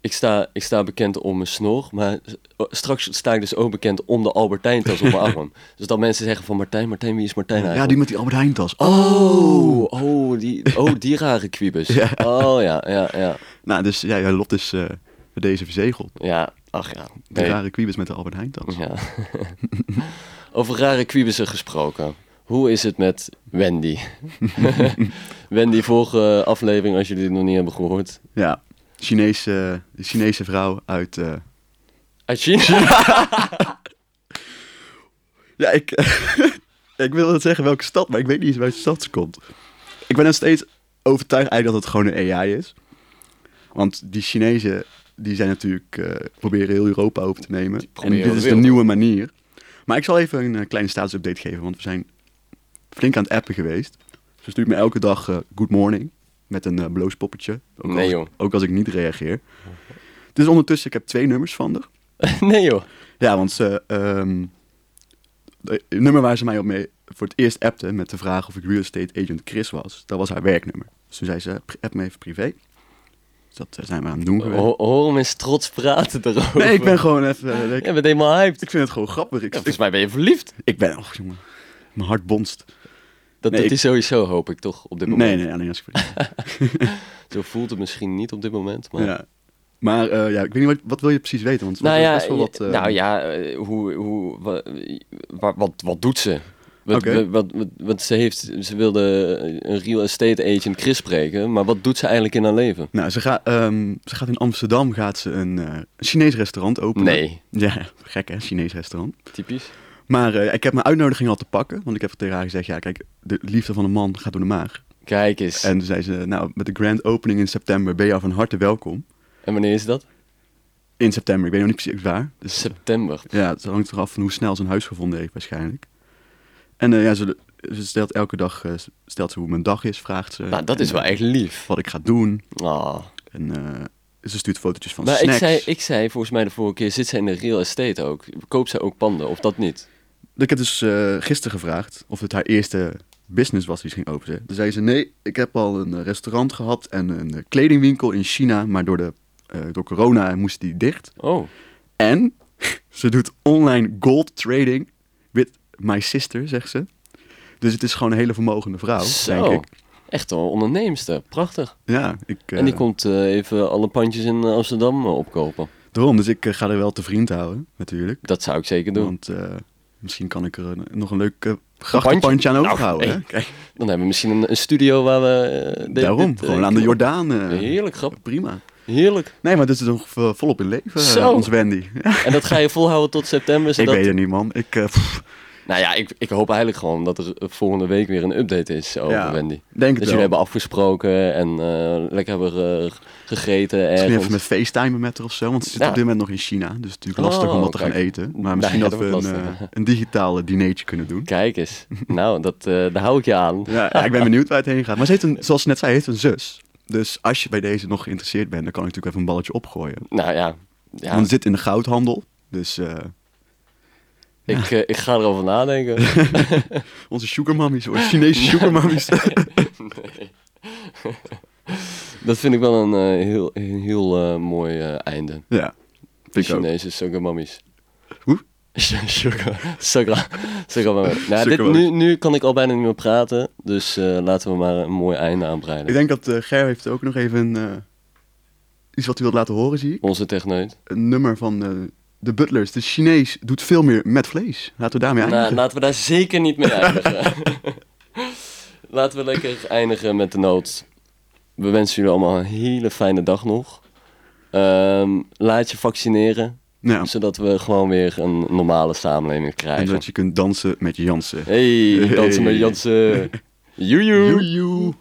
B: Ik sta, ik sta bekend om mijn snor, maar straks sta ik dus ook bekend om de Albertijn-tas op mijn
A: *laughs*
B: arm. Dus dat mensen zeggen van Martijn, Martijn, wie is Martijn
A: Ja,
B: eigenlijk?
A: die met die Albert Heijn-tas. Oh.
B: Oh, oh, die, oh, die rare
A: *laughs*
B: kubus. Oh ja, ja, ja.
A: Nou, dus ja, jouw lot is eh, voor deze verzegeld.
B: Ja, ach ja.
A: De
B: Nee.
A: rare kwiebes met de Albert Heijn-tas.
B: ja. *laughs* Over rare kubussen gesproken. Hoe is het met Wendy? *laughs* Wendy, vorige aflevering, als jullie het nog niet hebben gehoord.
A: Ja, Chinese, de Chinese vrouw uit... eh,
B: Uit China?
A: Ja, ik, *laughs* ik wil het zeggen welke stad, maar ik weet niet eens welke stad ze komt. Ik ben nog steeds overtuigd eigenlijk dat het gewoon een AI is. Want die Chinezen, die zijn natuurlijk, eh, proberen heel Europa over te nemen. En
B: proberen
A: dit
B: heel
A: is
B: de
A: de
B: wereld.
A: nieuwe manier. Maar ik zal even een eh, kleine statusupdate geven, want we zijn flink aan het appen geweest. Ze stuurt me elke dag eh, good morning met een eh bloospoppetje. Ook,
B: Nee,
A: als,
B: joh.
A: ook als ik niet reageer. Dus ondertussen, ik heb twee nummers van haar.
B: *laughs* nee joh.
A: Ja, want ze, ehm, het nummer waar ze mij op mee voor het eerst appte met de vraag of ik real estate agent Chris was, dat was haar werknummer. Dus toen zei ze, "Pri- app me even privé. Dus dat eh, zijn we aan het doen. geweest.
B: Ho- hoor hem eens trots praten erover.
A: nee, ik ben gewoon even... eh, ik,
B: Je bent helemaal hyped.
A: ik vind het gewoon grappig. Ik,
B: Ja, volgens mij ben je verliefd.
A: ik ben... Oh, jongen. Mijn hart bonst.
B: Dat,
A: Nee,
B: dat
A: ik-
B: is sowieso, hoop ik toch, op dit moment.
A: Nee, nee, alleen als ik...
B: *laughs* Zo voelt het misschien niet op dit moment. Maar...
A: Ja. Maar eh, ja, ik weet niet, wat, wat wil je precies weten? Want
B: Nou
A: er is
B: ja,
A: best wel wat,
B: je-
A: eh,
B: nou ja, eh, hoe, hoe, wa- wa- wat, wat doet ze? Wat,
A: Oké.
B: wat, wat, wat- wat ze, heeft, ze wilde een real estate agent Chris spreken, maar wat doet ze eigenlijk in haar leven?
A: Nou, ze, gaat ehm, ze gaat in Amsterdam gaat ze een eh, Chinees restaurant openen.
B: Nee,
A: Ja, gek hè, Chinees restaurant.
B: typisch.
A: Maar eh, ik heb mijn uitnodiging al te pakken. Want ik heb tegen haar gezegd, ja kijk, de liefde van een man gaat door de maag.
B: Kijk eens. En,
A: En toen zei ze, nou met de grand opening in september ben je al van harte welkom.
B: wanneer is dat?
A: In september, ik weet nog niet precies waar. Dus
B: September.
A: ja, het hangt eraf van hoe snel ze een huis gevonden heeft waarschijnlijk. En eh, ja, ze, ze stelt elke dag, eh, stelt ze hoe mijn dag is, vraagt ze.
B: Nou, dat is
A: En,
B: wel
A: eh,
B: echt lief.
A: Wat ik ga doen.
B: Ah.
A: En eh, ze stuurt fotootjes van
B: Maar ik
A: snacks.
B: zei, ik zei volgens mij de vorige keer, zit ze in de real estate ook? Koopt zij ook panden of dat niet?
A: Ik heb dus eh, gisteren gevraagd of het haar eerste business was die ze ging openen. Toen zei ze, nee, ik heb al een eh, restaurant gehad en een eh, kledingwinkel in China, maar door, de, eh, door corona moest die dicht.
B: Oh,
A: En *laughs* ze doet online gold trading with my sister, zegt ze. Dus het is gewoon een hele vermogende vrouw,
B: zo.
A: denk ik.
B: Echt wel onderneemster. Prachtig.
A: Ja, ik, eh
B: En die komt eh, even alle pandjes in eh, Amsterdam eh, opkopen.
A: daarom. Dus ik eh, ga haar wel te vriend houden, natuurlijk.
B: Dat zou ik zeker doen.
A: Want eh, misschien kan ik er een- nog een leuk eh, grachtenpandje aan
B: Nou,
A: overhouden. hè?
B: hey,
A: Kijk,
B: Dan hebben we misschien een, een studio waar we... eh, dit-
A: daarom,
B: dit, eh,
A: gewoon aan de Jordaan. eh,
B: Heerlijk, grap.
A: Prima.
B: Heerlijk.
A: Nee, maar dit is nog eh, volop in leven, eh,
B: Zo.
A: ons Wendy.
B: En dat ga je volhouden tot september.
A: ik
B: Zodat...
A: weet het niet, man. Ik, eh, pff,
B: Nou ja, ik, ik hoop eigenlijk gewoon dat er eh, volgende week weer een update is over
A: Ja,
B: Wendy.
A: denk
B: Dat
A: het
B: jullie
A: wel.
B: hebben afgesproken en eh, lekker hebben eh, gegeten
A: Misschien
B: ergens.
A: even met facetimen met haar of zo, want ze zit
B: Ja.
A: op dit moment nog in China. Dus het is natuurlijk
B: Oh,
A: lastig om wat te gaan
B: kijk.
A: eten.
B: Nou
A: Maar misschien
B: ja,
A: dat we
B: dat
A: een,
B: wordt lastig.
A: eh, een digitale dinertje kunnen doen.
B: *laughs*
A: *laughs*
B: Kijk eens. Nou, dat, eh, daar hou ik je aan.
A: Ja, ja, ik ben benieuwd waar het heen gaat. Maar ze heeft een, zoals ze net zei, heeft een zus. Dus als je bij deze nog geïnteresseerd bent, dan kan ik natuurlijk even een balletje opgooien.
B: Nou ja, ja
A: Want ze zit in de goudhandel. Dus eh,
B: ik, eh, ik ga erover nadenken.
A: *laughs* onze sugarmummies, onze
B: *laughs*
A: Chinese sugarmummies.
B: dat vind ik wel een eh, heel, een heel eh, mooi eh, einde.
A: ja,
B: De
A: vind ik ook.
B: Chinese sugarmummies.
A: Hoe?
B: *laughs* Sugar. Sugar. Sugar Mama. Nou, dit,
A: Sugar.
B: nu, nu kan ik al bijna niet meer praten. Dus eh, laten we maar een mooi einde aanbreiden.
A: Ik denk dat eh Ger heeft ook nog even eh, iets wat hij wil laten horen, zie ik.
B: Onze techneut.
A: Een nummer van eh The Butlers. De Chinees doet veel meer met vlees. Laten we daarmee eindigen.
B: Nou, laten we daar zeker niet mee eindigen. *laughs* laten we lekker eindigen met de noot. We wensen jullie allemaal een hele fijne dag nog. Ehm, laat je vaccineren,
A: Ja,
B: zodat we gewoon weer een normale samenleving
A: en
B: krijgen.
A: dat je kunt dansen met Jansen.
B: Hey, dansen
A: Hey.
B: met Jansen. Joejoe.
A: Joejoe.